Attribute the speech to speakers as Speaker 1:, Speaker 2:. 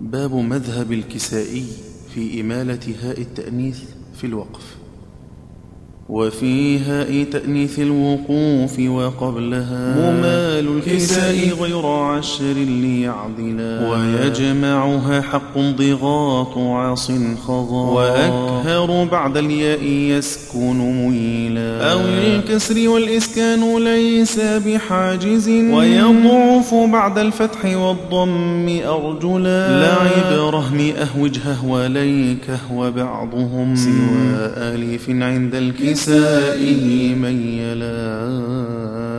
Speaker 1: باب مذهب الكسائي في إمالة هاء التأنيث في الوقف وفي هاء تأنيث الوقوف وقبلها ممال الكساء غير عشر ليعدلا ويجمعها حق ضغاط عاص خضا وأكهر بعد الياء يسكن ميلا أو الكسر والإسكان ليس بحاجز ويضعف بعد الفتح والضم أرجلا لعب رهم أهوج ههو ليك هو بعضهم سوى أليف عند الكساء من يلا